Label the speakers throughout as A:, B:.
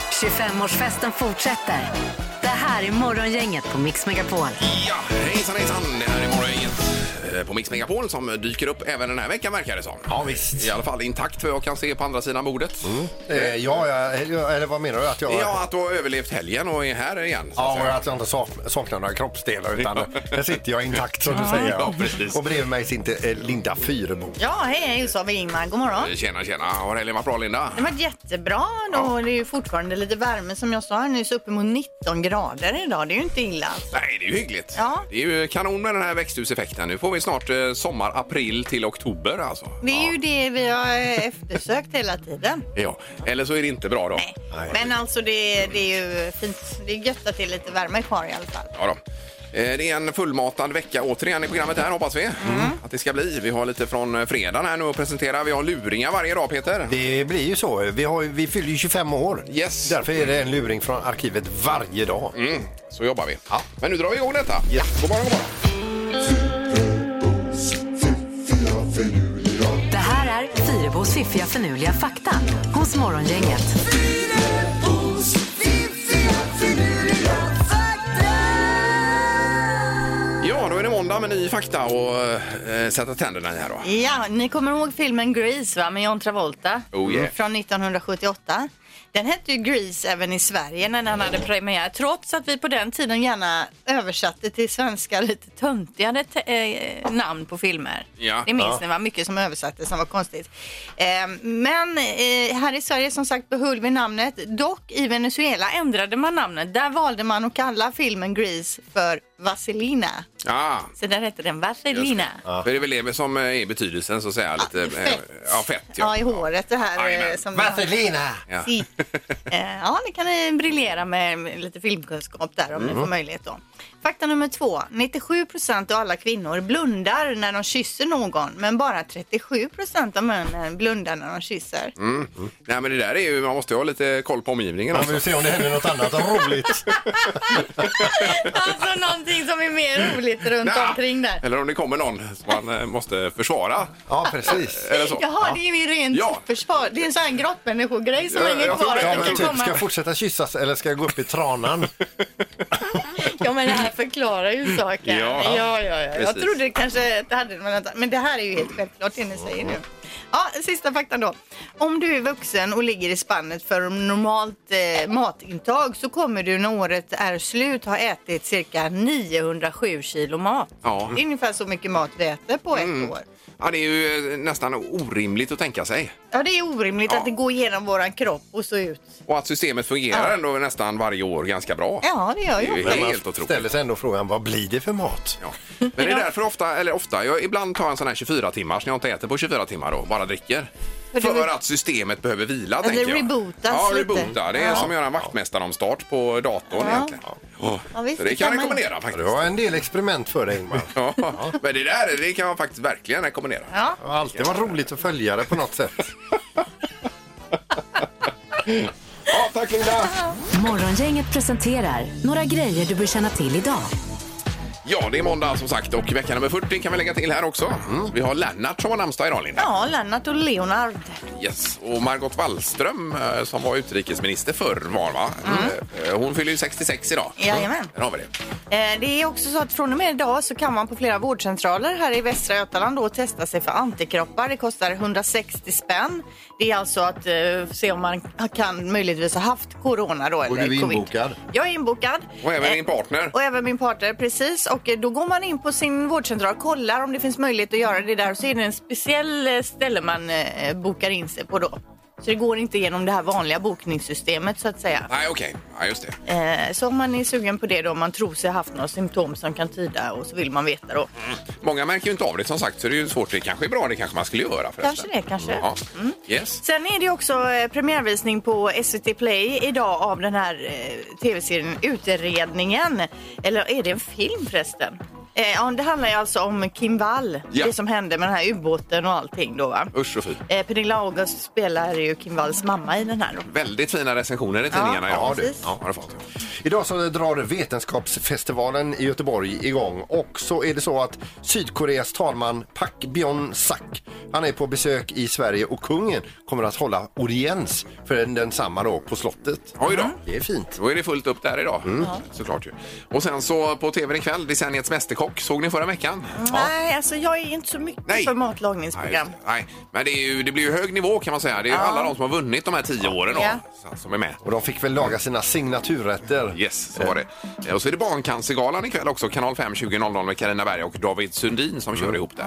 A: 25-årsfesten fortsätter. Det här är Morgongänget på Mix Megapol.
B: Ja, hejsan hejsan! Det här är Morgongänget eh, på Mix Megapol som dyker upp även den här veckan verkar det som.
C: Ja, visst.
B: I alla fall intakt vad jag kan se på andra sidan bordet.
C: Eh, ja, ja, eller vad menar du? Att jag...
B: Ja, att du har överlevt helgen och är här igen. Så att
C: Ja, och
B: säga.
C: att jag inte sak- saknar några kroppsdelar utan där sitter jag intakt som du säger.
B: Ja, precis.
C: Och bredvid mig sitter eh, Linda Fyrebo.
D: Ja, hej, hej, så har vi Ingmar. God morgon.
B: Tjena, tjena! Har helgen varit bra, Linda?
D: Det har varit jättebra. Då.
B: Ja.
D: Det är ju fortfarande lite värme som jag sa här nyss, uppemot 19 grader idag. Det är ju inte illa.
B: Nej, det är ju hyggligt.
D: Ja.
B: Det är ju kanon med den här växthuseffekten. Nu får vi snart eh, sommar, april till oktober alltså.
D: Det är ju det vi har eh, eftersökt hela tiden.
B: Ja, eller så är det inte bra då.
D: Nej. Men alltså det, det är ju fint. Det är gött att det är lite värme kvar i alla fall.
B: Ja då. Eh, Det är en fullmatad vecka återigen i programmet här hoppas vi att det ska bli. Vi har lite från eh, fredagen här nu att presentera. Vi har luringar varje dag Peter.
C: Det blir ju så. Vi, har, ju- vi fyller ju 25 år.
B: Yes.
C: Därför är det en luring från arkivet varje dag.
B: Mm, så jobbar vi. Men nu drar vi igång detta.
C: Ja.
B: God morgon, god morgon.
A: Det här är Fyrabos fiffiga förnuliga fakta hos Morgongänget.
B: Ja, då är det måndag med ny fakta och eh, sätta tänderna i här då.
D: Ja, ni kommer ihåg filmen Grease va, med John Travolta?
B: Oh, yeah.
D: Från 1978. Den hette ju Grease även i Sverige när den hade premiär trots att vi på den tiden gärna översatte till svenska lite töntigare te- eh, namn på filmer.
B: Ja.
D: Det minns ni va? Mycket som översattes som var konstigt. Eh, men eh, här i Sverige som sagt behöll vi namnet. Dock i Venezuela ändrade man namnet. Där valde man att kalla filmen Grease för Vaselina.
B: Ah.
D: Så där hette den
B: just
D: Vaselina.
B: det. För det är väl det som eh, är betydelsen så att säga. Lite,
D: det är fett.
B: eh, Ja, fett ja.
D: Ja, i håret det här.
B: Jajamän.
D: eh, Som
C: Vaselina!
B: Ja.
D: Si. Eh, Ja, det kan ni briljera med med lite filmkunskap där om ni
B: Mm.
D: får möjlighet då. Fakta nummer två. 97 procent av alla kvinnor blundar när de kysser någon, men bara 37 procent av männen blundar när de kysser.
B: Mm. Nej, men det där är ju, man måste ju ha lite koll på omgivningen.
C: Ja,
B: också.
C: vi se om det händer något annat roligt.
D: Alltså någonting som är mer roligt runt
B: Ja.
D: omkring där.
B: Eller om det kommer någon som man eh, måste försvara.
C: Ja, precis.
B: Eller så.
D: Jaha, det är ju rent
B: Ja.
D: försvar. Det är en sån här grottmänniskogrej som
B: Ja,
D: hänger
B: jag tror
D: kvar.
B: det.
D: att
C: Ja,
D: den
B: Jag
C: men
D: kan
C: typ,
D: komma.
C: ska jag fortsätta kyssas eller ska jag gå upp i tranan?
D: Ja men det här förklarar ju saken.
B: Ja,
D: Ja, ja, ja. Jag
B: precis.
D: trodde kanske att det hade med något annat- Men det här är ju helt självklart det ni säger nu. Ja, sista faktan då. Om du är vuxen och ligger i spannet för normalt eh, matintag så kommer du när året är slut ha ätit cirka 907 kilo mat.
B: Ja. Mm.
D: Det är ungefär så mycket mat vi äter på ett år.
B: Ja, det är ju eh, nästan orimligt att tänka sig.
D: Ja, det är orimligt
B: Ja.
D: att det går igenom våran kropp och så ut.
B: Och att systemet fungerar
D: Ja.
B: ändå nästan varje år ganska bra.
D: Ja, det gör
B: Det är
D: ju
B: ju
D: det.
B: helt
C: Man
B: otroligt.
C: ställer sig ändå frågan, vad blir det för mat?
B: Ja. Men det är därför ofta, eller ofta, jag ibland tar jag en sån här 24 timmars när jag inte äter på 24 timmar då, bara dricker.
D: För
B: För
D: du-
B: att systemet behöver vila,
D: det
B: tänker jag.
D: rebootas
B: Ja,
D: lite.
B: reboota. Det är
D: Ja.
B: som att göra en vaktmästaromstart på datorn
D: Ja.
B: egentligen.
D: Ja, visst,
B: Så det kan
D: det kan
B: jag
D: man ju.
B: rekommendera
C: Du
B: faktiskt.
C: har en del experiment för dig, Ingmar.
B: Ja. Men det där det kan jag faktiskt verkligen rekommendera.
D: Ja.
C: Det har alltid varit roligt att följa det på något sätt.
B: Ja, tack Linda!
A: Morgongänget presenterar några grejer du bör känna till idag.
B: Ja, det är måndag som sagt och vecka nummer 40 kan vi lägga till här också. Mm. Vi har Lennart som har namnsdag idag Linda.
D: Ja, Lennart och Leonard.
B: Yes. Och Margot Wallström eh, som var utrikesminister förr var va? Eh, Hon fyller ju 66 idag.
D: Mm. Jajamän.
B: Där har vi det.
D: Eh, Det är också så att från och med idag så kan man på flera vårdcentraler här i Västra Götaland då testa sig för antikroppar. Det kostar 160 spänn. Det är alltså att eh, se om man kan möjligtvis ha haft corona då. Eller
C: du är
D: covid.
C: inbokad?
D: Jag är inbokad.
B: Och även
D: Eh,
B: din partner.
D: Och även min partner, precis. Och eh, då går man in på sin vårdcentral och kollar om det finns möjlighet att göra det där. Och så är det en speciell eh, ställe man eh, bokar in sig på då. Så det går inte genom det här vanliga bokningssystemet så att säga.
B: Nej, okej. Ja, just det.
D: Eh, Så om man är sugen på det då, om man tror sig ha haft några symptom som kan tyda och så vill man veta då.
B: Många märker ju inte av det som sagt så det är ju svårt. Det kanske är bra, det kanske man skulle göra förresten.
D: Kanske det, kanske. Mm.
B: Ja. Yes.
D: Sen är det också eh, premiärvisning på SVT Play idag av den här eh, tv-serien Utredningen. Eller är det en film förresten? Eh, ja, det handlar ju alltså om Kim Wall,
B: Ja.
D: det som hände med den här ubåten och allting då va.
B: Usch och fy.
D: Eh, Pernilla August spelar ju Kim Walls mamma i den här då.
B: Väldigt fina recensioner i tidningarna.
D: Ja,
B: ja, du.
D: precis.
B: ja, har du fått.
C: Idag så drar Vetenskapsfestivalen i Göteborg igång och så är det så att Sydkoreas talman Pak Byon-sak han är på besök i Sverige och kungen kommer att hålla audiens för den- densamma då på slottet. Mm.
B: Oj då.
C: Det är fint.
B: Då är det fullt upp där idag.
D: Mm.
B: eh, Såklart ju. Och sen så på tv ikväll, Decenniets Mästerkock. Såg ni förra veckan?
D: Nej, alltså jag är inte så mycket
B: Nej.
D: för
B: Nej,
D: matlagningsprogram.
B: nej. men det, är ju, det blir ju hög nivå kan man säga. Det är ju alla de som har vunnit de här tio åren då,
D: Ja.
B: så- som är med.
C: Och de fick väl laga sina signaturrätter.
B: Yes, så var det. Eh, Och så är det Barncancergalan ikväll också, kanal 5 20.00 med Carina Berg och David Sundin som kör ihop det.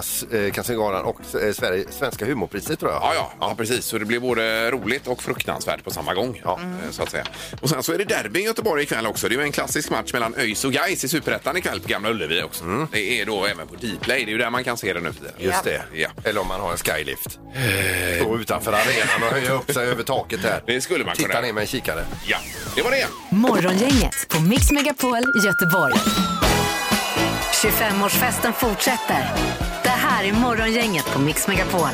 C: Barncancergalan och eh, Sverige, Svenska humorpriset tror jag.
B: Ja, ja, ja, precis. Så det blir både roligt och fruktansvärt på samma gång. Ja. eh, Så att säga. Och sen så är det derby i Göteborg ikväll också. Det är ju en klassisk match mellan ÖIS och Gais i Superettan ikväll på Gamla Ullevi också. Det är då även på Dplay. Det är ju där man kan se det nu för tiden.
C: Mm. Just det.
B: Ja.
C: Eller om man har en skylift. Stå utanför arenan och höja upp sig över taket här.
B: Eh. Det skulle man
C: Titta
B: kunna.
C: ner med en kikare.
B: Ja, det var det.
A: Morgongänget på Mix Megapol Göteborg. 25-årsfesten fortsätter. Det här är Morgongänget på Mix Megapol.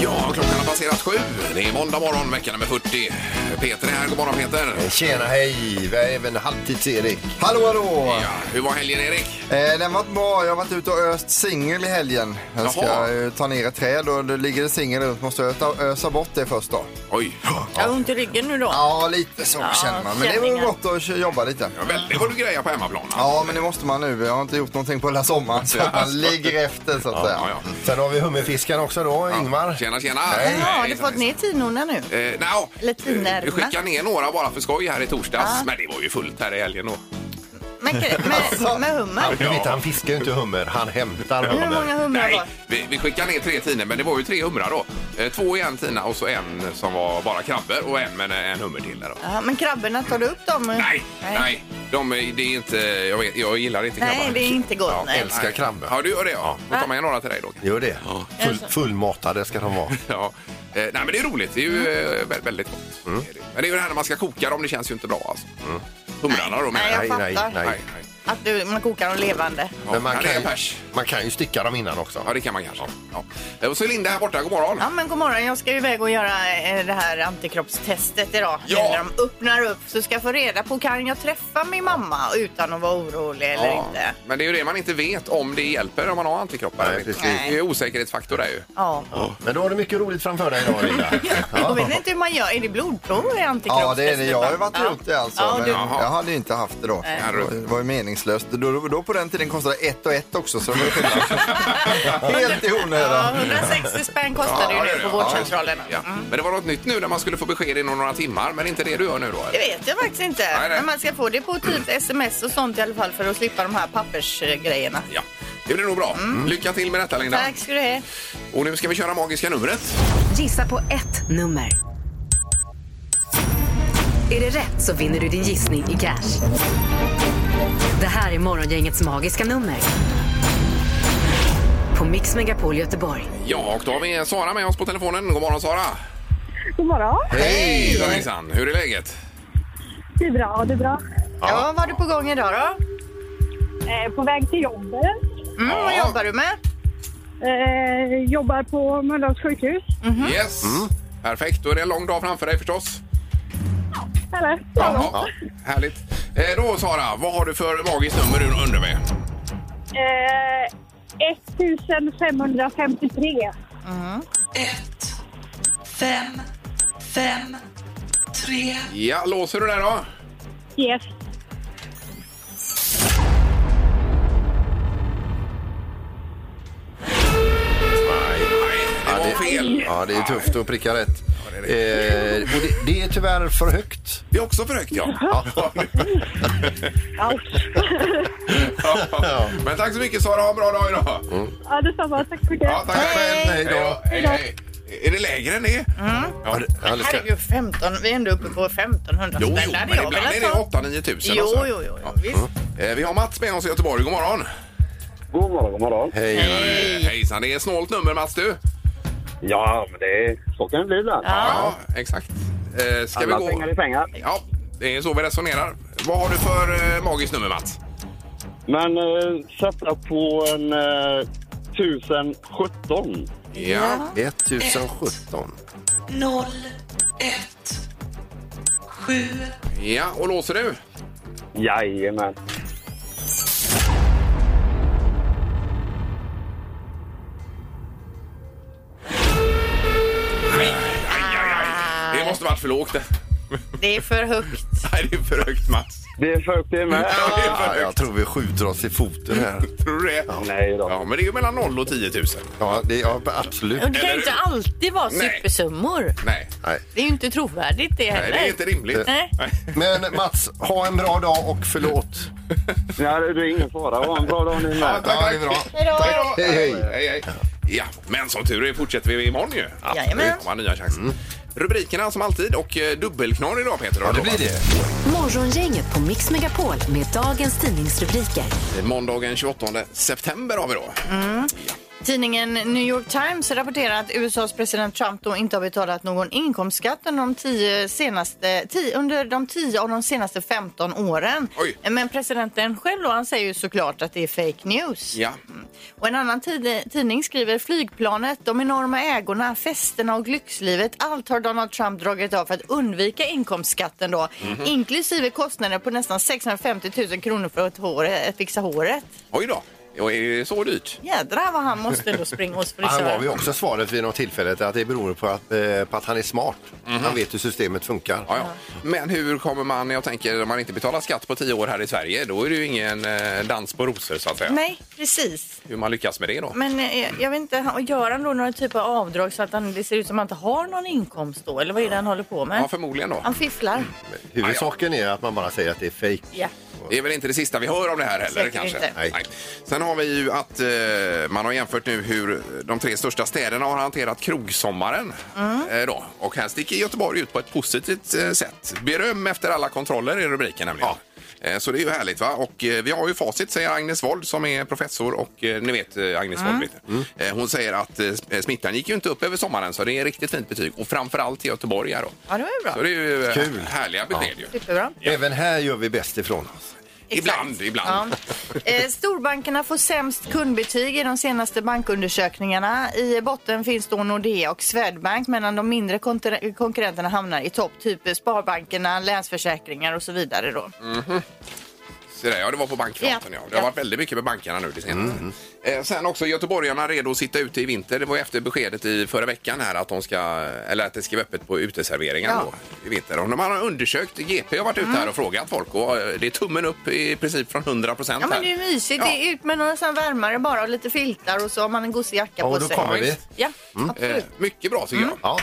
B: Ja, klockan har passerat sju. Det är måndag morgon, veckan nummer 40. Peter är här. God morgon, Peter.
C: Tjena, hej! Vi är även halvtids-Erik. Hallå, hallå!
B: Ja, hur var helgen, Erik?
E: Eh, den var bra. Jag har varit ute och öst singel i helgen. Jag ska
B: Jaha.
E: eh, ta ner ett träd och det ligger det singel runt. Måste jag öta, ösa bort det först då.
B: Oj,
D: Jag har ont i ryggen nu då.
E: Ja, lite så
D: Ja,
E: känner man. Men det var
D: känningar.
E: gott att kö- jobba lite.
B: ja, väldigt vad du grejar på hemmaplan.
E: Ja, men det måste man nu. Jag har inte gjort någonting på hela sommaren så att man ligger efter så att säga.
B: Ja, ja.
C: Sen har vi hummerfiskaren också då, Ingmar.
B: Tjena, tjena.
D: Ja, har du fått ner tinorna nu?
B: Eh, nja,
D: Eller tinerna.
B: vi skickade ner några bara för skoj här i torsdags. Men det var ju fullt här i helgen. Och...
D: Med,
B: Alltså.
D: med, med hummer?
C: Du vet, han fiskar ju inte hummer, han hämtar
D: Hur många
C: hummer.
D: humrar
B: Nej,
D: var
B: vi, vi skickade ner tre tiner, men det var ju tre humrar då. Eh, två i en tina och så en som var bara krabbor och en med en hummer till. Där då.
D: ja, Men krabborna, tar du upp dem?
B: Nej, nej. De, är- det är inte, jag, vet, jag gillar inte
D: Nej,
B: krabbar.
D: det är inte gott, nej.
C: Älskar krabbor.
B: Ja, du gör det ja. Får ta med några till dig då.
C: Gör det. Full, fullmatade ska de vara.
B: Ja. Eh, nej, men det är roligt. Det är ju
D: Mm.
B: eh, vä- väldigt gott.
C: Mm.
B: Det är det. Men det är ju det här när man ska koka dem, det känns ju inte bra alltså. Humrarna då menar
D: Nej, jag
C: Nej, nej,
D: fattar.
C: Mm. nej.
D: Att du, man kokar dem levande.
B: Ja,
C: Men man
B: här är
C: kan,
B: en
C: ju,
B: pers.
C: man kan ju sticka dem innan också.
B: Ja, det kan man kanske. Ja. Eh, Och så är Linda här borta. God morgon.
D: Ja men god morgon, jag ska ju iväg och göra eh, det här antikroppstestet idag.
B: Ja.
D: När de öppnar upp så ska jag få reda på kan jag träffa min mamma utan att vara orolig eller inte.
B: Men det är ju det man inte vet om det hjälper om man har antikroppar.
C: Nej,
B: eller inte.
C: precis.
B: Det är ju osäkerhetsfaktor där ju.
D: Ja.
C: Men då har du mycket roligt framför dig idag, Linda.
D: Jag vet inte hur man gör, är det blodprov i
E: Ja,
D: antikroppstestet?
E: det är det. Jag har ju varit och
D: Ja.
E: gjort det alltså.
D: Ja,
E: men
D: du,
B: Jaha.
E: jag hade ju inte haft det då.
D: Nej.
E: Det var- Det var ju meningslöst. Då, då, då på den tiden kostade ett och ett också så det var ju skillnad. Helt i
D: ja,
E: onödan.
D: 160 spänn kostar det ju
B: Ja,
D: nu på
B: ja.
D: vårdcentralen. Mm.
B: Ja. Men det var något nytt nu när man skulle få besked inom några timmar, men inte det du gör nu då?
D: Det
B: Eller?
D: vet jag faktiskt inte.
B: Nej, nej.
D: Men man ska få det på typ sms och sånt i alla fall för att slippa de här pappersgrejerna.
B: Ja, det blir nog bra. Mm. Lycka till med detta Linda.
D: Mm. Tack ska du ha.
B: Och nu ska vi köra magiska numret.
A: Gissa på ett nummer. Är det rätt så vinner du din gissning i cash. Det här är Morgongängets magiska nummer. På Mix Megapol Göteborg.
B: Ja, och då har vi Sara med oss på telefonen. God morgon Sara!
F: God morgon.
B: Hej! Hejsan! Hur är läget?
F: Det är bra, det är bra.
D: Ja, vad har du på gång idag då?
F: Eh, på väg till jobbet.
D: Mm,
B: Ja.
D: Vad jobbar du med?
F: Eh, jobbar på Mölndals sjukhus.
D: Mhm.
B: Yes!
C: Mm.
B: Perfekt, då är det en lång dag framför dig förstås.
F: Eller?
B: Ja, Härligt. Eh, Då Sara, vad har du för magiskt nummer du undrar med?
F: Eh, 1553.
G: ett, fem, fem, tre.
B: Ja, låser du där då?
F: Yes.
B: Nej, det var fel.
C: Ja, det är tufft att pricka rätt.
B: det är
C: Eh, och det, det är tyvärr för högt.
B: Det är också för högt ja.
F: Ouch.
B: ja. Men tack så mycket Sara, ha en bra dag idag.
F: ja, detsamma. Tack så mycket.
B: Ja, tack.
C: Hej. Hej då.
B: Mm. Hej, hej. Är det lägre än det?
C: Ja, det- ja, det ska-
D: Herregud, 15, vi är ändå uppe på 1500
B: Jo,
D: spänn.
B: jo,
D: Det hade
B: men
D: jag
B: ibland
D: velat
B: är det
D: ha.
B: 8 9 tusen.
D: Jo,
B: alltså.
D: jo, jo, jo visst.
B: Eh, Vi har Mats med oss i Göteborg. God morgon!
H: God morgon, god morgon.
C: Hej.
B: Eh, Hejsan, det är snålt nummer Mats du.
H: Ja, men det är, så kan det bli ibland.
D: Ja.
B: exakt. Eh, Ska
H: Alla
B: vi gå?
H: pengar är pengar.
B: Ja, det är så vi resonerar. Vad har du för eh, magiskt nummer Mats?
H: Men eh, sätta på en eh, 1017.
B: Ja.
C: 1017.
G: 0, 1, 7,
B: ja, och låser du?
H: Jajamän.
B: Det måste varit för lågt.
D: Det är för högt.
B: Nej, det är för högt Mats.
H: Det är 40 med.
B: Ja, det är för
C: Ja,
B: högt.
C: jag tror vi skjuter oss i foten här.
B: Tror du det?
H: Nej då.
B: Ja, men det är ju mellan 0 och 10 000.
C: Ja, det, ja absolut.
I: Och det kan ju inte alltid vara
B: Nej.
I: supersummor.
B: Nej,
C: Nej.
I: Det är ju inte trovärdigt det
B: nej
I: heller.
B: det är inte rimligt.
I: Nej.
C: Men Mats, ha en bra dag och förlåt.
H: Nej, det är ingen fara. Ha en bra dag ni med.
C: Ja, det är bra.
B: Tack.
C: Hej, hej.
B: Hej, hej. Ja, men som tur är fortsätter vi imorgon ju.
D: Jajamän.
B: Det kommer nya chanser. Rubrikerna som alltid och eh, dubbelknorr idag Peter. har
E: Mm. Ja,
B: du
E: det blir
B: lovat.
E: det.
A: Morgongänget på Mix Megapol med dagens tidningsrubriker.
B: Måndagen 28 september har vi då.
D: Tidningen New York Times rapporterar att USAs president Trump då inte har betalat någon inkomstskatt under de tio, senaste, tio, under de tio av de senaste 15 åren.
B: Oj.
D: Men presidenten själv då, han säger ju såklart att det är fake news.
B: Ja.
D: Och en annan tid, tidning skriver flygplanet, de enorma ägorna, festerna och lyxlivet. Allt har Donald Trump dragit av för att undvika inkomstskatten då. Inklusive kostnader på nästan 650 000 kronor för att, hår, att fixa håret.
B: Oj då. Och är det så dyrt?
D: Jädrar vad han måste ändå springa hos
C: Han
D: frisören.
C: gav ju också svaret vid något tillfälle att det beror på att, eh, på att han är smart. Han vet hur systemet funkar.
B: Ja, ja. Men hur kommer man, jag tänker, om man inte betalar skatt på 10 år här i Sverige, då är det ju ingen eh, dans på rosor så att säga.
D: Nej, precis.
B: Hur man lyckas med det då?
D: Men eh, jag vet inte, han- gör han då några typer av avdrag så att han, det ser ut som att han inte har någon inkomst då? Eller vad är det han håller på med?
B: Ja, förmodligen då.
D: Han fifflar.
C: Huvudsaken är att man bara säger att det är fejk.
D: Ja.
B: Det är väl inte det sista vi hör om det här heller
D: Säkert
B: kanske?
D: inte.
C: Nej.
B: Sen har vi ju att eh, man har jämfört nu hur de tre största städerna har hanterat krogsommaren.
D: Mm.
B: Eh, då. Och här sticker Göteborg ut på ett positivt eh, sätt. Beröm efter alla kontroller är rubriken nämligen. Eh, Så det är ju härligt va? Och eh, vi har ju facit säger Agnes Wold som är professor och eh, ni vet eh, Agnes
D: Mm.
B: Wold vet ni. Eh, Hon säger att eh, sm- eh, smittan gick ju inte upp över sommaren så det är riktigt fint betyg och framförallt i Göteborg här då.
D: Ja, det var ju bra.
B: Så det är ju eh,
C: Kul.
B: härliga besked ju.
D: Superbra.
C: Även här gör vi bäst ifrån oss.
B: Ibland, ibland.
D: Ja. Eh, Storbankerna får sämst kundbetyg i de senaste bankundersökningarna. I botten finns då Nordea och Swedbank medan de mindre konter- konkurrenterna hamnar i topp. Typ Sparbankerna, Länsförsäkringar och så vidare.
C: Mm,
D: Då.
B: Så där, ja, det var på bankfronten. Ja.
D: Ja.
B: Det har varit väldigt mycket med bankerna nu det senaste. Eh, sen också göteborgarna redo att sitta ute i vinter. Det var ju efter beskedet i förra veckan här att, de ska, eller att det ska vara öppet på uteserveringar
D: Ja. Mm.
B: då, i vinter. Och man har undersökt, GP har varit ute här och frågat folk och eh, det är tummen upp i princip från 100 procent
D: Ja, men det är ju mysigt.
B: Ja.
D: Det är ut med några sån värmare bara och lite filtar och så har man en gosig jacka
C: Ja,
D: på
C: och då
D: sig.
C: kommer vi.
D: Ja,
B: Eh,
D: absolut. Mm.
B: mycket bra tycker jag.
C: Ja.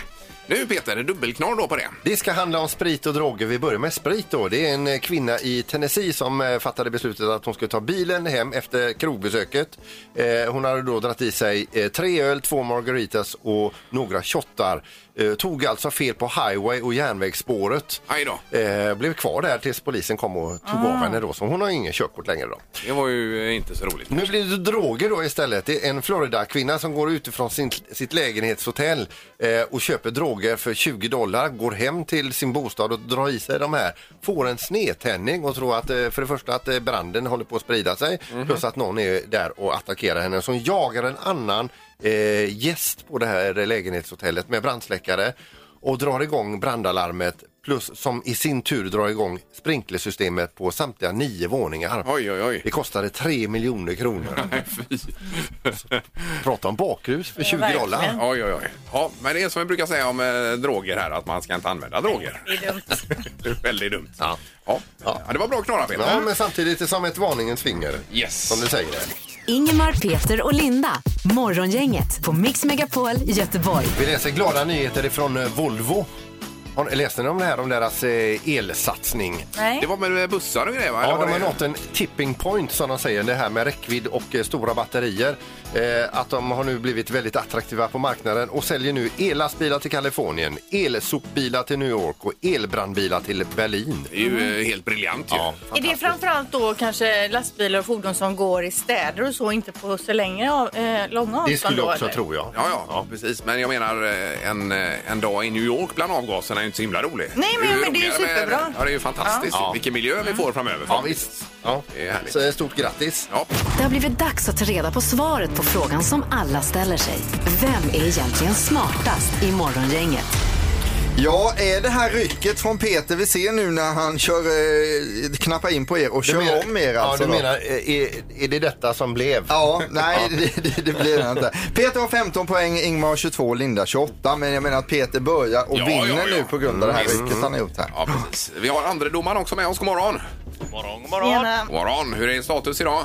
B: Nu Peter, är dubbelknorr då på det.
C: Det ska handla om sprit och droger. Vi börjar med sprit då. Det är en eh, kvinna i Tennessee som eh, fattade beslutet att hon skulle ta bilen hem efter krogbesöket. Eh, Hon hade då dragit i sig eh, tre öl, två margaritas och några shottar. Eh, Tog alltså fel på highway och järnvägsspåret.
B: Aj då.
C: Eh, Blev kvar där tills polisen kom och tog av henne då. Så hon har ingen körkort längre då.
B: Det var ju eh, inte så roligt.
C: Nu blir det droger då istället. Det är en Florida-kvinna som går utifrån sin, sitt lägenhetshotell eh, och köper droger för 20 dollar, går hem till sin bostad och drar i sig de här. Får en snedtändning och tror att eh, för det första att eh, branden håller på att sprida sig
B: Mhm.
C: plus att någon är där och attackerar henne som jagar en annan eh, gäst på det här lägenhetshotellet med brandsläckare och drar igång brandalarmet plus som i sin tur drar igång sprinklersystemet på samtliga nio våningar.
B: Oj, oj, oj.
C: Det kostade 3 miljoner kronor.
B: Nej, fy.
C: Prata om bakrus för 20
I: verkligen.
C: dollar.
B: Oj, oj, oj. Ja, men det är som vi brukar säga om eh, droger här, att man ska inte använda droger.
I: Det är dumt.
B: Det är Väldigt dumt.
C: Ja.
B: Ja. Ja. det var bra knorrar, Peter.
C: Ja, men samtidigt är det som ett varningens finger.
B: Yes.
C: Som du säger.
A: Ingemar, Peter och Linda. Morgongänget på Mix Megapol Göteborg.
C: Vi läser glada nyheter ifrån eh, Volvo. Har ni- Läste ni om det här om deras eh, elsatsning?
B: Det
I: Nej.
B: var med eh, bussar och grejer, va?
C: Ja,
B: Eller var
C: de har
B: det-
C: nått en tipping point som de säger, det här med räckvidd och eh, stora batterier. Eh, att de har nu blivit väldigt attraktiva på marknaden och säljer nu ellastbilar till Kalifornien, elsopbilar till New York och elbrandbilar till Berlin.
B: Det är ju eh, helt briljant ju. Ja.
D: Är det framförallt då kanske lastbilar och fordon som går i städer och så, inte på så länge av, eh, långa avstånd?
C: Det skulle
D: då,
C: jag också
D: eller?
C: tro jag.
B: Ja, precis. Men jag menar, eh, en, eh, en dag i New York bland avgaserna är Mm. ju inte så himla rolig.
D: Nej, men-
B: ju
D: men det är ju
B: roligare med-
D: superbra.
B: Ja, det är ju fantastiskt.
C: Ja.
B: Vilken miljö vi får framöver.
C: Ja, visst. Ja.
B: Det är härligt.
C: Så stort grattis.
B: Ja,
A: Det har blivit dags att ta reda på svaret på frågan som alla ställer sig. Vem är egentligen smartast i Morgongänget?
E: Ja, är det här rycket från Peter vi ser nu när han kör, eh, knappar in på er och kör om er alltså?
C: ja,
E: då?
C: du menar, eh, är, är det detta som blev?
E: Ja, nej det, det, det blir det inte. Peter har 15 poäng, Ingmar har 22, Linda 28. Men jag menar att Peter börjar och
B: Ja,
E: vinner
B: ja, ja.
E: nu på grund av det här
B: Mm.
E: rycket han har gjort här.
B: ja precis. Vi har andre domaren också med oss. God morgon.
J: morgon, god morgon.
D: Tjena.
B: God morgon. Hur är status idag?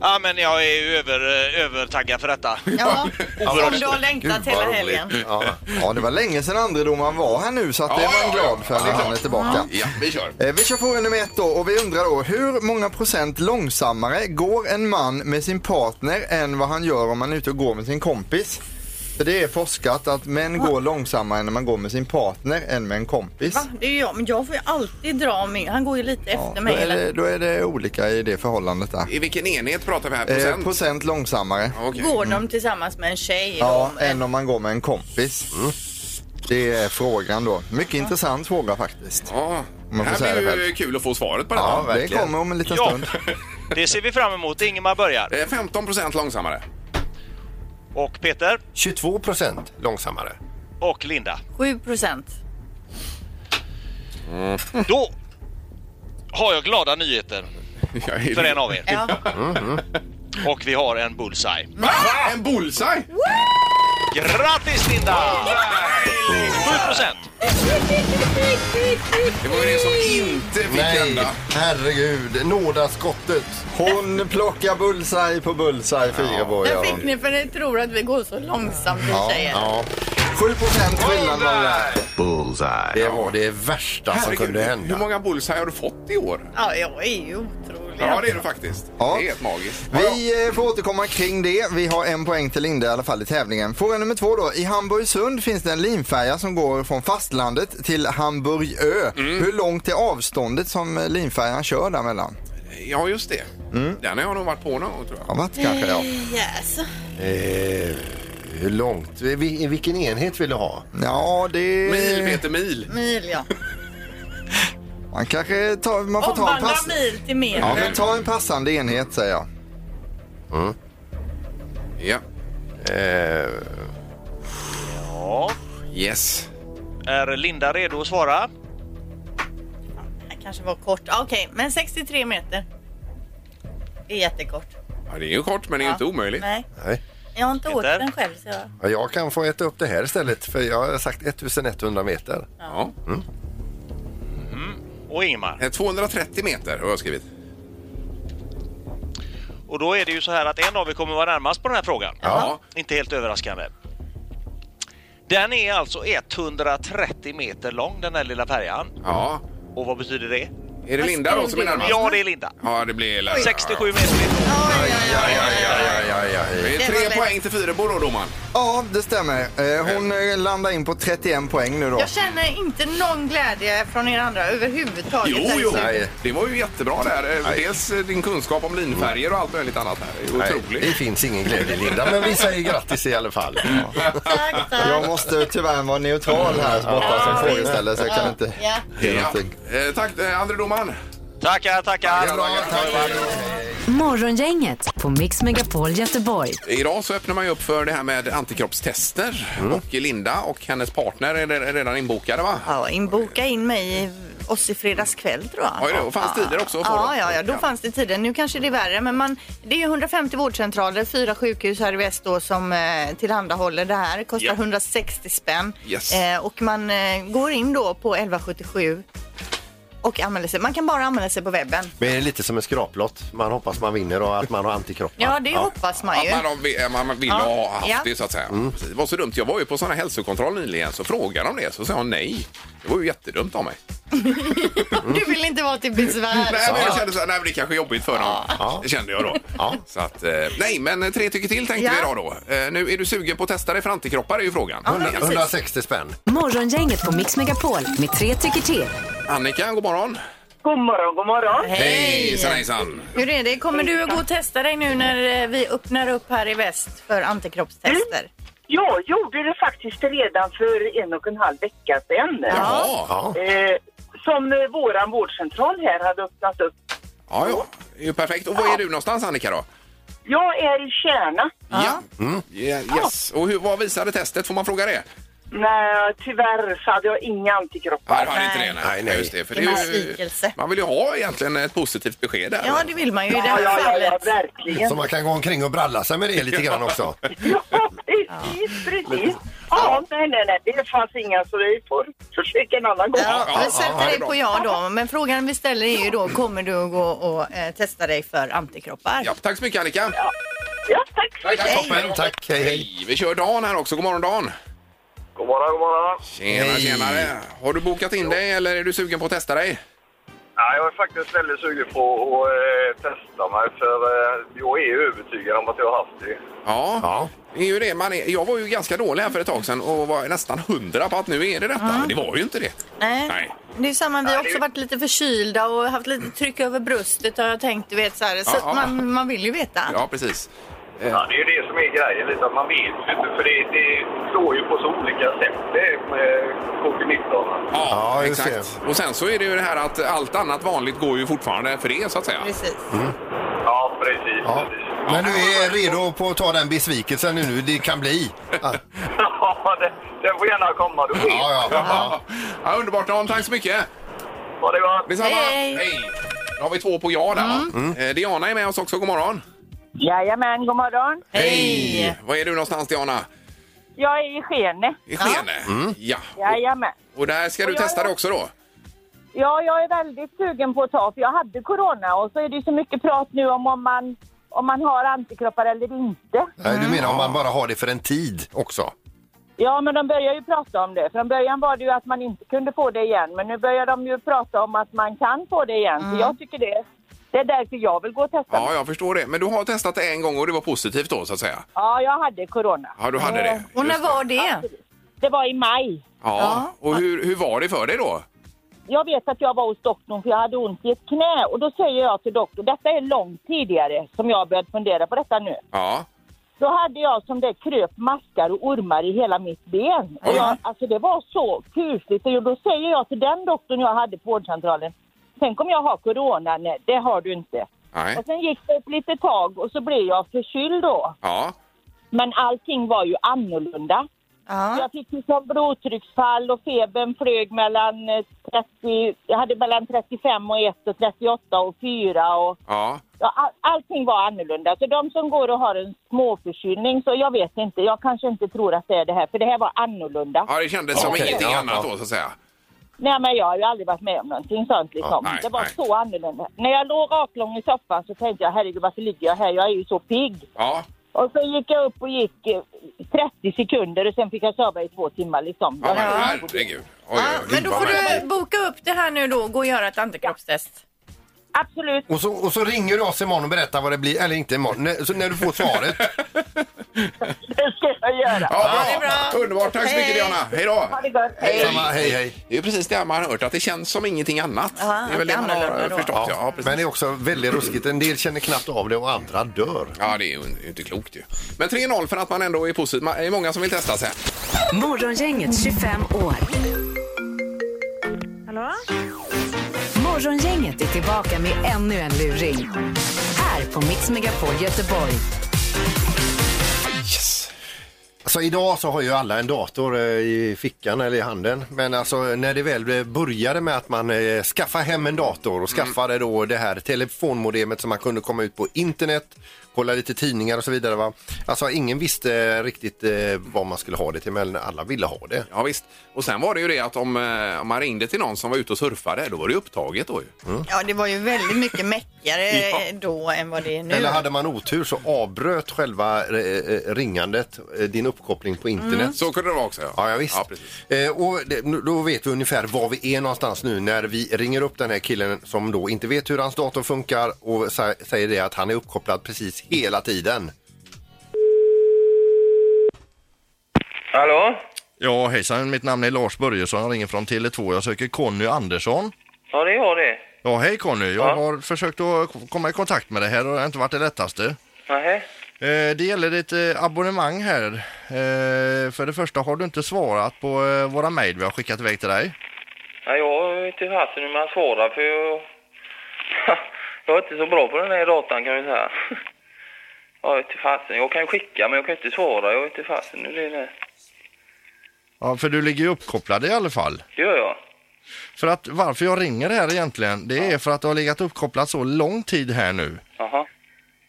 J: Ja, men jag är ju över, eh, övertaggad för detta.
D: Ja,
B: vad
D: som du
C: alltså,
D: har längtat
B: Gud, vad
D: hela
B: roligt.
D: helgen.
C: Ja.
E: Ja, det var länge sedan andredomaren var här nu så att det
B: Ja,
E: var
B: ja,
E: en
B: ja.
E: glad för
B: Ja, det är
E: att han är
B: klart.
E: tillbaka.
B: Ja, vi kör.
E: Eh, Vi kör fråga nummer ett då och vi undrar då hur många procent långsammare går en man med sin partner än vad han gör om man är ute och går med sin kompis? För det är forskat att män går långsammare när man går med sin partner än med en kompis.
D: Va? Det är ju jag, men jag får ju alltid dra med. Han går ju lite
E: Ja,
D: efter
E: då,
D: mig.
E: är
D: Eller?
E: det, då är det olika i det förhållandet där.
B: I vilken enhet pratar vi här?
E: Eh,
B: Procent?
E: procent långsammare.
B: Okej.
D: Går de tillsammans med en tjej?
E: Mm. Ja,
D: då?
E: än om man går med en kompis.
B: Mm.
E: Det är frågan då. Mycket intressant fråga faktiskt.
B: Ja.
E: man får
B: Här
E: säga
B: blir
E: det
B: ju
E: själv.
B: kul att få svaret på det
E: Ja,
B: här.
E: det
C: verkligen.
E: kommer om en liten
J: Ja,
E: stund.
J: det ser vi fram emot. Ingemar börjar.
B: Eh, 15 procent långsammare.
J: Och Peter
C: 22 procent långsammare.
J: och Linda.
D: 7 procent.
J: Då har jag glada nyheter
B: Jag är-
J: för en av er.
D: Ja.
J: Och vi har en bullseye.
B: Va? En bullseye?
J: Grattis Linda! 7 procent.
B: Det var ju det som inte fick
C: Nej,
B: hända.
C: herregud. Nådaskottet.
E: Hon plockar bullseye på bullseye, Fyrebo. Ja.
D: Den fick ni för ni tror att vi går så långsamt vi tjejer.
C: Ja,
E: 7 procent skillnad var det där.
C: det var det värsta som kunde
B: hur
C: hända.
B: många bullseye har du fått i år?
D: Ja, jag är ju otrolig.
B: Ja, det är det faktiskt.
E: Ja.
B: Det är helt magiskt.
E: Vi eh, får återkomma kring det. Vi har en poäng till Linda i alla fall i tävlingen. Fråga nummer två då. I Hamburgsund finns det en linfärja som går från fastlandet till Hamburgö. Hur långt är avståndet som eh, linfärjan kör där mellan?
B: Ja, just det. Den har jag nog varit på någon gång, tror jag.
E: Ja, vart kanske ja.
D: Yes.
C: Eh, hur långt? Vi- vi- Vilken enhet vill du ha?
E: Ja, det...
B: Mil, Peter, mil.
D: Mil, ja.
E: Man kanske tar... Man får ta en
D: Omvandla
E: pass...
D: mil till mer.
E: Ja, men ta en passande enhet säger jag.
B: Ja.
C: Eh,
J: Ja.
B: Yes.
J: Är Linda redo att svara?
D: Det kanske var kort. Ja, Okej, men 63 meter. Det är jättekort.
B: Ja, det är ju kort, men det är ju
D: Ja.
B: inte omöjligt.
D: Nej.
C: nej.
D: Jag har inte åkt
J: Peter?
D: den själv. Så jag...
C: Ja, Jag kan få äta upp det här istället för jag har sagt 1100 meter.
B: Ja.
J: Och Ingemar.
B: Eh, 230 meter har jag skrivit.
J: Och då är det ju så här att en av er kommer vara närmast på den här frågan.
B: Ja.
J: Inte helt överraskande. Den är alltså 130 meter lång den här lilla färjan.
B: Ja.
J: Och vad betyder det?
B: Är det Linda då som är närmast?
J: Ja, det är Linda.
B: Ja, det blir Linda.
J: 67 meter.
B: Det är
D: Det
B: tre
D: var
B: poäng till Fyrebo då, domaren.
E: Ja, det stämmer. Eh, Hon eh, landar in på 31 poäng nu då.
D: jag känner inte någon glädje från er andra överhuvudtaget.
B: Jo,
D: Alltså,
B: jo.
C: Nej.
B: Det var ju jättebra där. Dels eh, din kunskap om linfärger och allt möjligt annat här. Det är
C: Nej,
B: otroligt.
C: det finns ingen glädje Linda, men vi säger grattis i alla fall.
D: Tack, tack.
E: Jag måste tyvärr vara neutral här borta som frågeställare så jag kan inte
D: Ja.
E: ge
B: Ja.
E: någonting.
B: Eh, tack, eh, andre domaren.
J: Tackar, tackar.
A: Morgongänget på Mix Megapol Göteborg.
B: Idag så öppnar man ju upp för det här med antikroppstester.
E: Mm.
B: Och Linda och hennes partner är re- redan inbokade, va?
D: Ja, in, boka in mig i oss i fredags kväll tror jag.
B: Ja, det- och fanns tider också att få
D: Ja,
B: då.
D: ja, ja, då
B: Ja.
D: fanns det tider. Nu kanske det är värre, men man, det är ju 150 vårdcentraler, fyra sjukhus här i väst då som eh, tillhandahåller det här. Kostar
B: Ja.
D: 160 spänn
B: Yes.
D: eh, och man eh, går in då på 1177 och anmäler sig. Man kan bara anmäla sig på webben.
C: Men det är lite som en skraplott. Man hoppas man vinner och att man har antikroppar.
D: Ja, det hoppas man ju.
B: Att man, har- eh, man vill
D: Ja.
B: ha haft
D: Ja.
B: det så att säga.
E: Mm.
B: Precis. Det var så dumt. Jag var ju på sån här hälsokontroll nyligen så frågade de det så sa jag nej. Det var ju jättedumt av mig.
D: Du vill inte vara till besvär.
B: Nej, men jag kände så här, nej men det kanske är jobbigt för dem. Det kände jag då. Så att, eh, nej men tre tycker till tänkte
D: Ja.
B: vi idag då. Eh, Nu är du sugen på att testa dig för antikroppar är ju frågan.
D: men precis.
C: 160 spänn.
A: Morgongänget på Mix Megapol med tre tycker till.
B: Annika, god morgon.
F: God morgon, god morgon.
B: Hejsan hejsan.
D: Hur är det? Kommer du att gå och testa dig nu när eh, vi öppnar upp här i väst för antikroppstester?
F: Jag gjorde det faktiskt redan för en och en halv vecka sedan.
B: Jaha.
C: Ja.
F: Eh, som eh, våran vårdcentral här hade öppnat upp.
B: Ja, ja. Det är ju perfekt. Och var är du någonstans Annika då?
K: Jag är i Kärna.
B: Ja. Mm. Yeah, yes. Och hur, vad visade testet? Får man fråga det?
K: Nej, tyvärr så hade jag inga
B: Nej,
K: antikroppar.
B: det var inte det. Nej, nej, Just det, för det är ju, man vill ju ha egentligen ett positivt besked där.
D: Ja, det vill man ju i det
K: Ja,
D: här
K: ja, ja,
D: fallet.
K: ja, verkligen.
C: Så man kan gå omkring och bralla sig med det lite grann också.
K: Ja, precis, precis. Ja, nej, nej, nej, det fanns inga så vi får försöka en annan gång.
D: Ja, vi sätter dig på
K: ja
D: ja då. Men frågan vi ställer är ju då, kommer du att gå och eh, testa dig för antikroppar?
B: Ja, tack så mycket Annika.
K: Ja, tack så
B: Tack,
K: mycket.
B: toppen.
C: Tack, hej, hej.
B: Vi kör Dan här också. God morgon Dan.
H: God morgon, god morgon.
B: Tjena,
C: Hej.
B: tjenare. Har du bokat in dig eller är du sugen på att testa dig?
H: Ja, jag är faktiskt väldigt sugen på att eh, testa mig för eh, jag är övertygad om att jag har haft det.
B: Ja. Det är ju det. Man är, jag var ju ganska dålig här för ett tag sedan och var nästan hundra på att nu är det detta. Men det var ju inte det.
D: Nej.
B: Nej.
D: Det är samma, vi har också varit lite förkylda och haft lite tryck över bröstet har jag tänkt, du vet så här. Så
B: Ja,
D: att
B: ja.
D: man, man vill ju veta.
B: Ja, precis.
H: Ja, det är ju det som är grejen lite, att man vet ju inte för det, det slår ju på så olika sätt det med covid-19.
B: Ja,
C: Ja, just
B: exakt. Och sen så är det ju det här att allt annat vanligt går ju fortfarande för det så att säga.
D: Precis.
B: Mm,
H: Ja, precis.
C: Ja.
H: precis.
C: Men du är redo på att ta den besvikelsen nu det kan bli? Ja,
H: Ja, det, det får gärna komma. Du vet.
C: ja. ja.
B: Ja. ja, underbart Dan. Tack så mycket.
H: Ha det gott!
B: Detsamma.
D: Hej. Mm.
B: Då har vi två på ja där va?
C: Mm.
B: Eh, Diana är med oss också. God morgon.
K: Jajamän, god morgon.
D: Hej!
B: Var är du någonstans Diana?
K: Jag är i Skene.
B: I Skene?
C: Mm.
B: Ja.
K: Jajamän.
B: Och där ska du
K: Och jag-
B: testa det också då?
K: Ja, jag är väldigt sugen på att ta, för jag hade corona och så är det ju så mycket prat nu om om man, om man har antikroppar eller inte.
C: Nej, Du menar om man bara har det för en tid också?
K: Ja, men de börjar ju prata om det. Från början var det ju att man inte kunde få det igen, men nu börjar de ju prata om att man kan få det igen. Så jag tycker det, det är därför jag vill gå och testa.
B: Ja, jag förstår det. Men du har testat det en gång och det var positivt då så att säga?
K: Ja, jag hade corona.
B: Ja, du hade det.
D: Och när
B: Just det.
D: var det?
K: Det var i maj.
B: Ja. Och hur, hur var det för dig då?
K: Jag vet att jag var hos doktorn för jag hade ont i ett knä och då säger jag till doktorn, detta är långt tidigare som jag började fundera på detta nu.
B: Ja.
K: Då hade jag som det kröp maskar och ormar i hela mitt ben.
B: Oj.
K: Och jag, alltså det var så kusligt. Och då säger jag till den doktorn jag hade på vårdcentralen. Tänk om jag har corona? Nej, det har du inte.
B: Nej.
K: Och sen gick det ett litet tag och så blev jag förkyld då.
B: Ja.
K: Men allting var ju annorlunda.
D: Ja.
K: Jag fick ju som blodtrycksfall och febern flög mellan eh, 30, jag hade mellan 35 och 1 och 38 och 4 och
B: Ja.
K: Ja, all, allting var annorlunda. Så de som går och har en småförkylning, så jag vet inte, jag kanske inte tror att det är det här, för det här var annorlunda.
B: Ja, det kändes som
C: Okej,
B: ingenting
C: ja,
B: annat
C: ja.
B: då så att säga.
K: Nej, men jag har ju aldrig varit med om någonting sånt liksom.
B: Ja, nej,
K: det var
B: nej.
K: så annorlunda. När jag låg raklång i soffan så tänkte jag, herregud varför ligger jag här? Jag är ju så pigg.
B: Ja.
K: Och så gick jag upp och gick eh, 30 sekunder och sen fick jag sova i två timmar liksom.
B: Ja, men
K: Jag-
B: herregud. Oj,
D: Ja,
B: oj, oj.
D: men då får du boka upp det här nu då och gå och göra ett antikroppstest.
K: Absolut.
C: Och så, och så ringer du oss imorgon och berättar vad det blir, eller inte imorgon, när, så när du får svaret.
K: Det ska jag göra.
B: Ja,
D: det är
B: bra.
D: bra.
B: Underbart. Tack så mycket,
D: Hej.
B: Diana. Hej då.
K: Ha det gott. Hej.
C: Samma, hej, hej.
B: Det är ju precis det man har hört, att det känns som ingenting annat.
D: Ja,
B: det är väl
D: det
B: det man har
D: annorlunda då.
B: förstått. Ja, ja, precis.
C: Men det är också väldigt ruskigt. En del känner knappt av det och andra dör.
B: ja det är ju ju inte klokt ju. Men 3-0 för att man ändå är positiv. Man- Det är många som vill testa sen.
A: Morgongänget 25 år. Morgongänget är tillbaka med ännu en luring. Här på Mix Megapol Göteborg.
C: Alltså idag så har ju alla en dator eh, i fickan eller i handen. Men alltså när det väl började med att man eh, skaffade hem en dator och skaffade då det här telefonmodemet som man kunde komma ut på internet, kolla lite tidningar och så vidare. Va? Alltså ingen visste riktigt eh, vad man skulle ha det till men alla ville ha det.
B: Ja, visst. Och sen var det ju det att om, eh, om man ringde till någon som var ute och surfade, då var det ju upptaget då ju.
D: Ja, det var ju väldigt mycket mäckigare
B: Ja.
D: eh, då än vad det är nu.
C: Eller hade man otur så avbröt själva eh, eh, ringandet eh, din uppkoppling på internet.
D: Mm,
B: Så kunde det vara också.
C: Ja, ja visst.
B: Ja, precis.
C: eh, och det, nu- då vet vi ungefär var vi är någonstans nu när vi ringer upp den här killen som då inte vet hur hans dator funkar och sä- säger det att han är uppkopplad precis hela tiden.
H: Hallå?
E: Ja, hejsan. Mitt namn är Lars Börjesson. Jag ringer från Tele2. Jag söker Conny Andersson.
H: Ja, det är jag det.
E: Ja, hej Conny. Jag har försökt att k- komma i kontakt med dig här och det har inte varit det lättaste.
H: Nähä?
E: Eh, Det gäller ditt eh, abonnemang här. Eh, För det första har du inte svarat på eh, våra mejl vi har skickat iväg till dig.
H: Nej, jag vet inte fasen hur man svarar för jag...
L: Jag är inte så bra på den här datan kan jag säga. Jag vet inte fasen. Jag kan ju skicka men jag kan ju inte svara. Jag vet inte fasen hur det är. det.
M: Ja, för du ligger ju uppkopplad i alla fall.
L: Det gör jag.
M: För att varför jag ringer här egentligen, det är för att du har legat uppkopplad så lång tid här nu.
L: Jaha.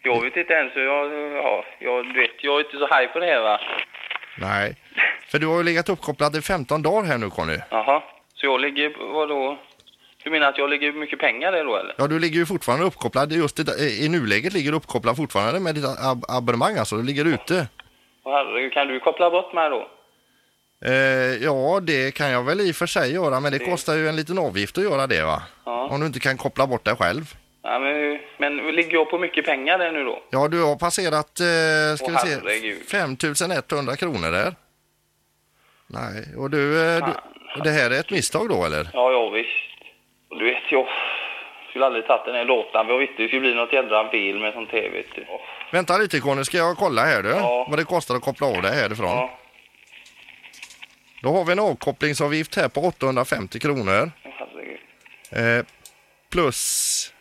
L: Jag vet inte ens hur jag... Ja, jag, du vet, jag är inte så haj på det här va.
M: Nej. För du har ju legat uppkopplad i 15 dagar här nu Conny.
L: Jaha. Så jag ligger... Vadå? Du menar att jag ligger mycket pengar där då eller?
M: Ja, du ligger ju fortfarande uppkopplad. Just i, I nuläget ligger du uppkopplad fortfarande med ditt ab- abonnemang, alltså. Du ligger ute.
L: Åh, herregud, kan du koppla bort mig då?
M: Eh, ja, det kan jag väl i och för sig göra, men det
L: Det-
M: kostar ju en liten avgift att göra det, va?
L: Ja.
M: Om du inte kan koppla bort dig själv.
L: Ja, men, men ligger jag på mycket pengar där nu då?
M: Ja, du har passerat, eh, ska
L: Åh,
M: vi se,
L: herregud.
M: 5100 kronor där. Nej, och du, eh, du, och det här är ett misstag då, eller?
L: Ja, ja visst. Och du vet, jag skulle aldrig tagit den här låten. Jag visste det skulle bli något jädra bil med sån tv. vet du. Åh,
M: Vänta lite, Conny, ska jag kolla här du? Vad det kostar att koppla av dig härifrån?
L: Ja.
M: Då har vi en avkopplingsavgift här på 850 kronor.
L: herregud.
M: Eh, plus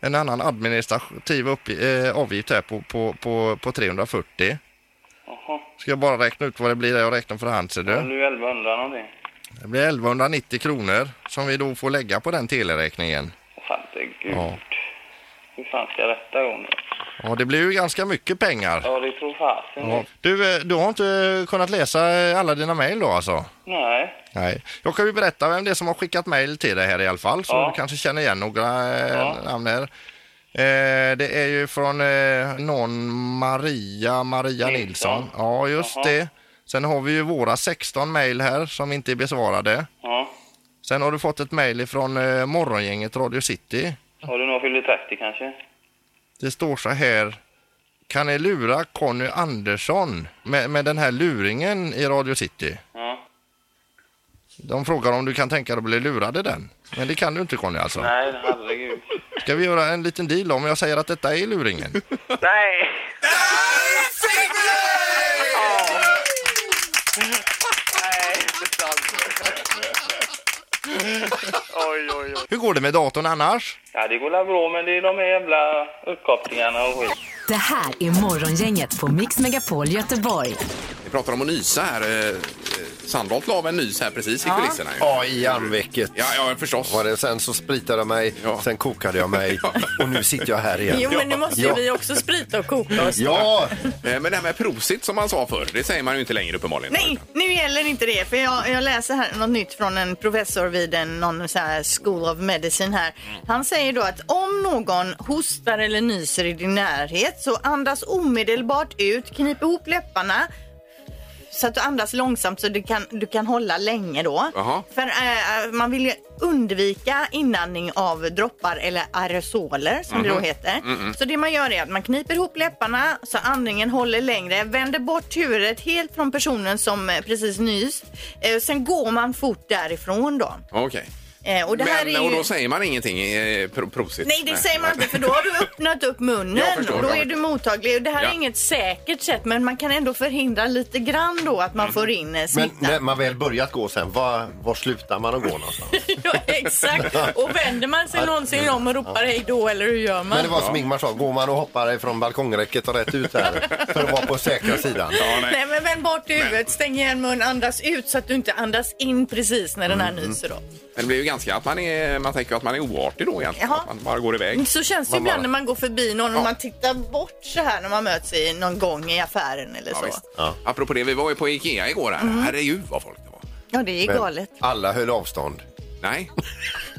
M: en annan administrativ uppg- eh, avgift här på, på, på, på 340.
L: Jaha.
M: Ska jag bara räkna ut vad det blir där jag räknar för hand ser
L: Det är
M: du.
L: ju 1100 någonting.
M: Det blir 1190 kronor som vi då får lägga på den teleräkningen.
L: Åh, herregud.
M: Ja.
L: Hur fan ska jag rätta igång nu?
M: ja, det blir ju ganska mycket pengar.
L: Ja, det tror fasen.
M: Ja. Du, eh, du har inte kunnat läsa eh, alla dina mejl då alltså?
L: Nej.
M: Nej. Jag kan ju berätta vem det är som har skickat mejl till dig här i alla fall, så
L: Ja.
M: du kanske känner igen några eh,
L: Ja.
M: namn här. Eh, det är ju från eh, någon Maria, Maria Nilsson. Ja, just
L: Mm, Jaha.
M: det. Sen har vi ju våra 16 mejl här som inte är besvarade.
L: Ja.
M: Sen har du fått ett mejl ifrån eh, morgongänget Radio City.
L: Har du någon fyller 30 kanske?
M: Det står så här. Kan ni lura Conny Andersson med, med den här luringen i Radio City?
L: Ja.
M: De frågar om du kan tänka dig att bli lurad i den. Men det kan du inte Conny alltså.
L: Nej, herregud.
M: Ska vi göra en liten deal om jag säger att detta är luringen?
L: Nej! Oj, oj, oj.
M: Hur går det med datorn annars?
L: Ja, det går väl bra, men det är de här jävla uppkopplingarna och skit.
A: Det här är Morgongänget på Mix Megapol Göteborg.
B: Vi pratar om att nysa här. eh, Sandholt la av en nys här precis i
A: Ja.
B: kulisserna. ju.
M: Ja, i armvecket.
B: Ja, ja förstås.
M: Var det, sen så spritade jag mig, sen kokade jag mig och nu sitter jag här igen.
C: Jo, men nu måste ju
M: Ja.
C: vi också sprita och koka oss.
B: Eh, Men det här med prosit som man sa förr, det säger man ju inte längre uppenbarligen.
D: Nej, nu gäller inte det. För jag, jag läser här något nytt från en professor vid en, någon så här School of Medicine här. Han säger då att om någon hostar eller nyser i din närhet så andas omedelbart ut, knip ihop läpparna så att du andas långsamt så du kan, du kan hålla länge då.
B: Jaha.
D: För eh, man vill ju undvika inandning av droppar eller aerosoler som det då
K: Mhm.
D: heter.
B: Mm,
K: Mhm.
D: Så det man gör är att man kniper ihop läpparna så andningen håller längre, vänder bort huvudet helt från personen som eh, precis nyst. Eh, sen går man fort därifrån då.
B: Okej.
D: Eh, och det här
B: Men,
D: är ju...
B: och då säger man ingenting eh, pro- prosit?
D: Nej, det säger man inte för då har du öppnat upp munnen
B: Jag förstår,
D: och då
B: jag
D: är du mottaglig. Och Det här
B: Ja.
D: är inget säkert sätt men man kan ändå förhindra lite grann då att man
B: Mm.
D: får in eh,
M: Men
D: smittan.
M: när man väl börjat gå sen, var, var slutar man att gå någonstans?
C: Ja, exakt. Och vänder man sig
M: Ja.
C: någonsin om och ropar hej då eller hur gör man?
M: Men det var som Ingmar sa, går man och hoppar från balkongräcket och rätt ut här för att vara på säkra sidan.
D: nej. men vänd bort huvudet, stäng igen mun, andas ut så att du inte andas in precis när den här
B: Mm,
D: nyser då.
B: Men det blir ju ganska att man, är, man tänker att man är oartig då egentligen.
D: Jaha. Mm.
B: Att Man bara går iväg.
D: Så känns det
B: Man
D: ibland
B: bara-
D: när man går förbi någon och
B: Ja.
D: man tittar bort så här när man möts i någon gång i affären eller
B: Ja,
D: så.
B: visst. Apropå det, vi var ju på Ikea igår här.
D: Mm.
B: Herregud vad folk det var.
D: Ja, det är galet.
M: Alla höll avstånd.
B: Nej,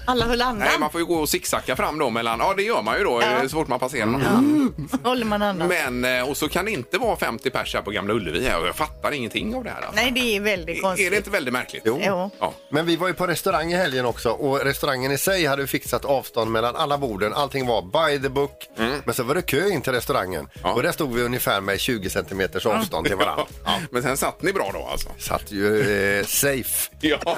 D: Alla höll andan.
B: nej, man får ju gå och zigzacka fram då mellan, ja det gör man ju då
D: Ja. Mm.
B: så fort man passerar någon.
D: Håller man andan.
B: Men, eh, och så kan det inte vara 50 pers här på Gamla Ullevi här och jag fattar ingenting av det här. Alltså.
D: Nej, det är väldigt konstigt.
B: Är det inte väldigt märkligt?
D: Jo.
B: Ja.
M: Men vi var ju på restaurang i helgen också och restaurangen i sig hade fixat avstånd mellan alla borden. Allting var by the book. Men så var det kö in till restaurangen och där stod vi ungefär med 20 centimeters avstånd till varandra.
B: Men sen satt ni bra då alltså?
M: Satt ju eh, safe.
B: Ja.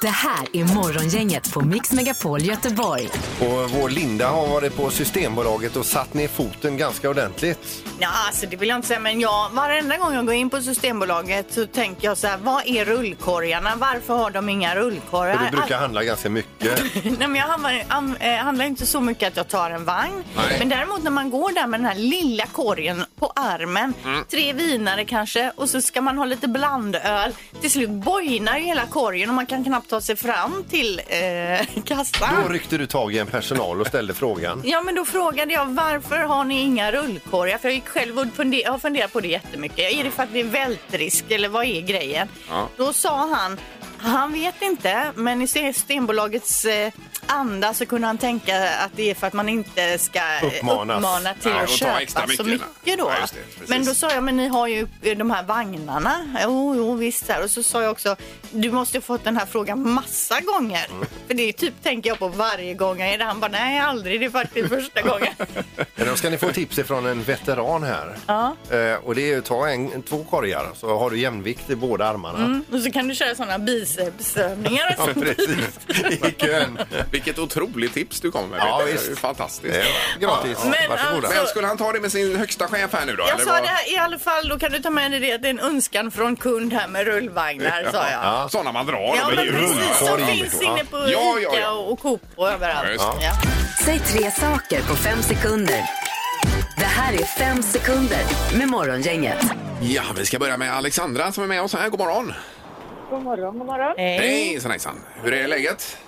A: Det här är Morgongänget på Mix Megapol Göteborg.
C: Och vår Linda har varit på Systembolaget och satt ner foten ganska ordentligt.
D: Ja, alltså det vill jag inte säga, men jag, varenda gång jag går in på Systembolaget så tänker jag så här, vad är rullkorgarna? Varför har de inga rullkorgar?
C: För du brukar handla ganska mycket.
D: Nej, men jag handlar, am- eh, handlar inte så mycket att jag tar en vagn.
C: Nej.
D: Men däremot när man går där med den här lilla korgen på armen,
C: Mm.
D: tre vinare kanske och så ska man ha lite blandöl. Till slut bojnar ju hela korgen och man kan knappt ta sig fram till eh, kassan.
C: Då ryckte du tag i en personal och ställde frågan.
D: Ja, men då frågade jag varför har ni inga rullkorgar? För jag gick själv och funde- jag har funderat på det jättemycket. Är det för att det är vältrisk eller vad är grejen?
G: Ja.
D: Då sa han, han vet inte, men i Systembolagets eh, anda så kunde han tänka att det är för att man inte ska eh,
G: Uppmanas.
D: uppmana till
G: Nej,
D: att
G: och ta extra
D: köpa så
G: mycket,
D: mycket då.
G: nej. Ja, just det, precis.
D: men då sa jag, men ni har ju eh, de här vagnarna. Jo, jo, visst. så Här. Och så sa jag också, du måste ha fått den här frågan massa gånger.
B: Mm.
D: För det är typ, tänker jag på varje gång jag är där. Han bara, nej, aldrig. Det är faktiskt första gången.
C: Men då ska ni få tips ifrån en veteran här.
D: Ja.
C: Eh, och det är ju ta en, två korgar så har du jämvikt i båda armarna.
D: Mm. Och så kan du köra sådana bicepsövningar. och
B: Ja,
D: sånt.
B: precis.
C: I kön.
B: Vilket otroligt tips du kommer med.
C: Ja,
B: det är ju
C: visst.
B: fantastiskt.
C: Det är Eh, gratis. Ja,
D: men Varsågoda. alltså-
B: Men skulle han ta det med sin högsta chef här nu då?
D: Jag
B: eller
D: sa
B: vad?
D: det här, i alla fall, då kan du ta med dig det, att det är en önskan från kund här med rullvagnar, sa jag.
B: Ja. Sådana man drar.
D: Ja,
B: de är
D: men
B: ju
D: precis. Som
B: rullkorg.
D: finns inne på
B: Ja, ja, ja.
D: Ica och Coop och överallt.
B: Ja, just det.
D: Ja.
A: Säg tre saker på fem sekunder. Det här är fem sekunder med Morgongänget.
B: Ja, vi ska börja med Alexandra som är med oss här. God morgon!
M: God morgon, god morgon.
B: Hejsan hejsan! Hur är läget?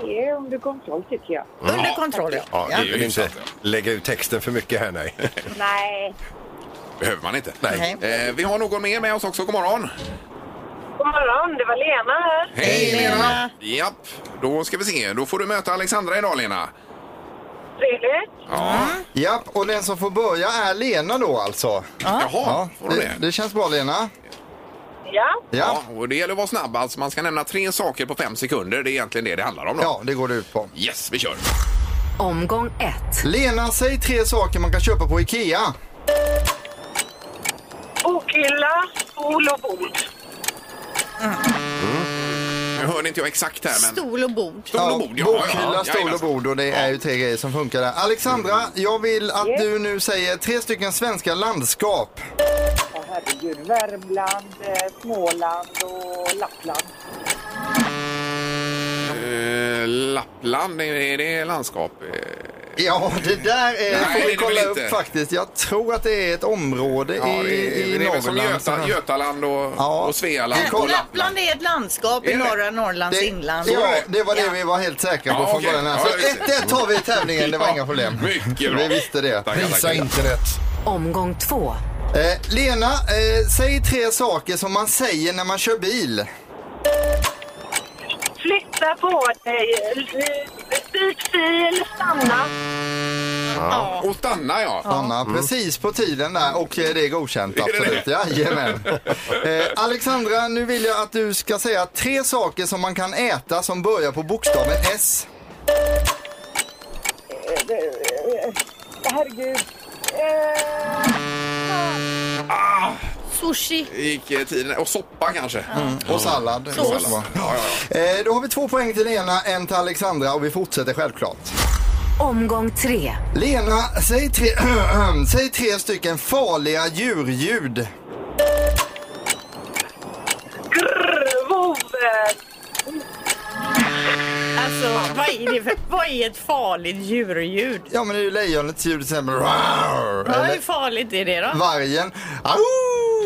M: Det är under kontroll tycker jag.
D: Under kontroll,
C: Ja, vi vill inte lägga ut texten för mycket här, nej.
M: Nej.
B: Behöver man inte. Nej. Eh, vi har någon mer med oss också. God morgon!
M: God morgon, det var Lena här.
B: Hej Lena! Japp, då ska vi se. Då får du möta Alexandra idag Lena.
M: Trevligt.
B: Ja.
E: Japp, och den som får börja är Lena då alltså.
B: Jaha, får du
E: det, det känns bra Lena.
M: Ja.
B: Ja. och det gäller att vara snabb. Alltså man ska nämna tre saker på fem sekunder. Det är egentligen det det handlar om. Då.
E: Ja, det går det ut på.
B: Yes, vi kör.
A: Omgång ett.
E: Lena, säg tre saker man kan köpa på IKEA.
M: Bokhyllan, stol och bord.
B: Nu hör inte jag exakt här, men...
D: Stol och bord.
B: Stol och bord, ja.
E: Bokhylla,
B: ja,
E: stol och
B: jajamensan. Mm.
E: bord och det är ju tre grejer som funkar där. Alexandra, jag vill att du nu säger tre stycken svenska landskap.
M: Åh, herregud, Värmland, eh, Småland och Lappland.
B: Eh, Lappland, är är det landskap? Eh,
E: Ja, det där är,
B: Nej,
E: får
B: det är
E: vi
B: det
E: kolla
B: väl
E: upp
B: inte.
E: faktiskt. Jag tror att det är ett område
B: Ja,
E: i,
B: det,
E: i
B: är- det är väl som
E: Norrland.
B: Göta, Götaland och, och Svealand.
E: Vi
B: och
E: kollar.
B: Lappland.
D: Lappland är ett landskap
B: Är
D: i
B: det?
D: norra Norrlands inland.
E: Ja, det var det
D: Ja.
E: vi var helt säkra på
B: Ja,
E: från
B: okej.
E: början. här.
B: Ja,
E: Så
B: just det.
E: 1-1 tar vi i tävlingen, det var
B: Ja, Mm.
E: inga problem.
B: mycket bra.
E: Vi visste det.
B: Tackar, Prisa tackar. internet.
A: Omgång två.
E: Eh, Lena, eh, säg tre saker som man säger när man kör bil.
M: Flytta på dig, eh, byt fil, stanna.
B: Ja. Och stanna, ja.
E: Stanna
B: Mm.
E: precis på tiden där och eh, det är godkänt.
B: Är det
E: Absolut.
B: det?
E: Jajamän. Eh, Alexandra, nu vill jag att du ska säga tre saker som man kan äta som börjar på bokstaven S.
M: Eh, eh, eh, Herregud. Eh,
D: Sushi.
B: Gick eh, tiden. Och soppa kanske.
E: Och sallad.
B: Sås.
E: Och sallad.
B: Ja, ja,
E: Eh, Då har vi två poäng till Lena, en till Alexandra och vi fortsätter självklart.
A: Omgång tre.
E: Lena, säg tre, säg tre stycken farliga djurljud.
M: grr, vov, eh,
D: Alltså, vad är, det för, vad är ett farligt djurljud?
E: Ja, men det är ju lejonets ljud till exempel. Rar,
D: Ja,
E: eller
D: hur farligt är det då?
E: vargen. Au!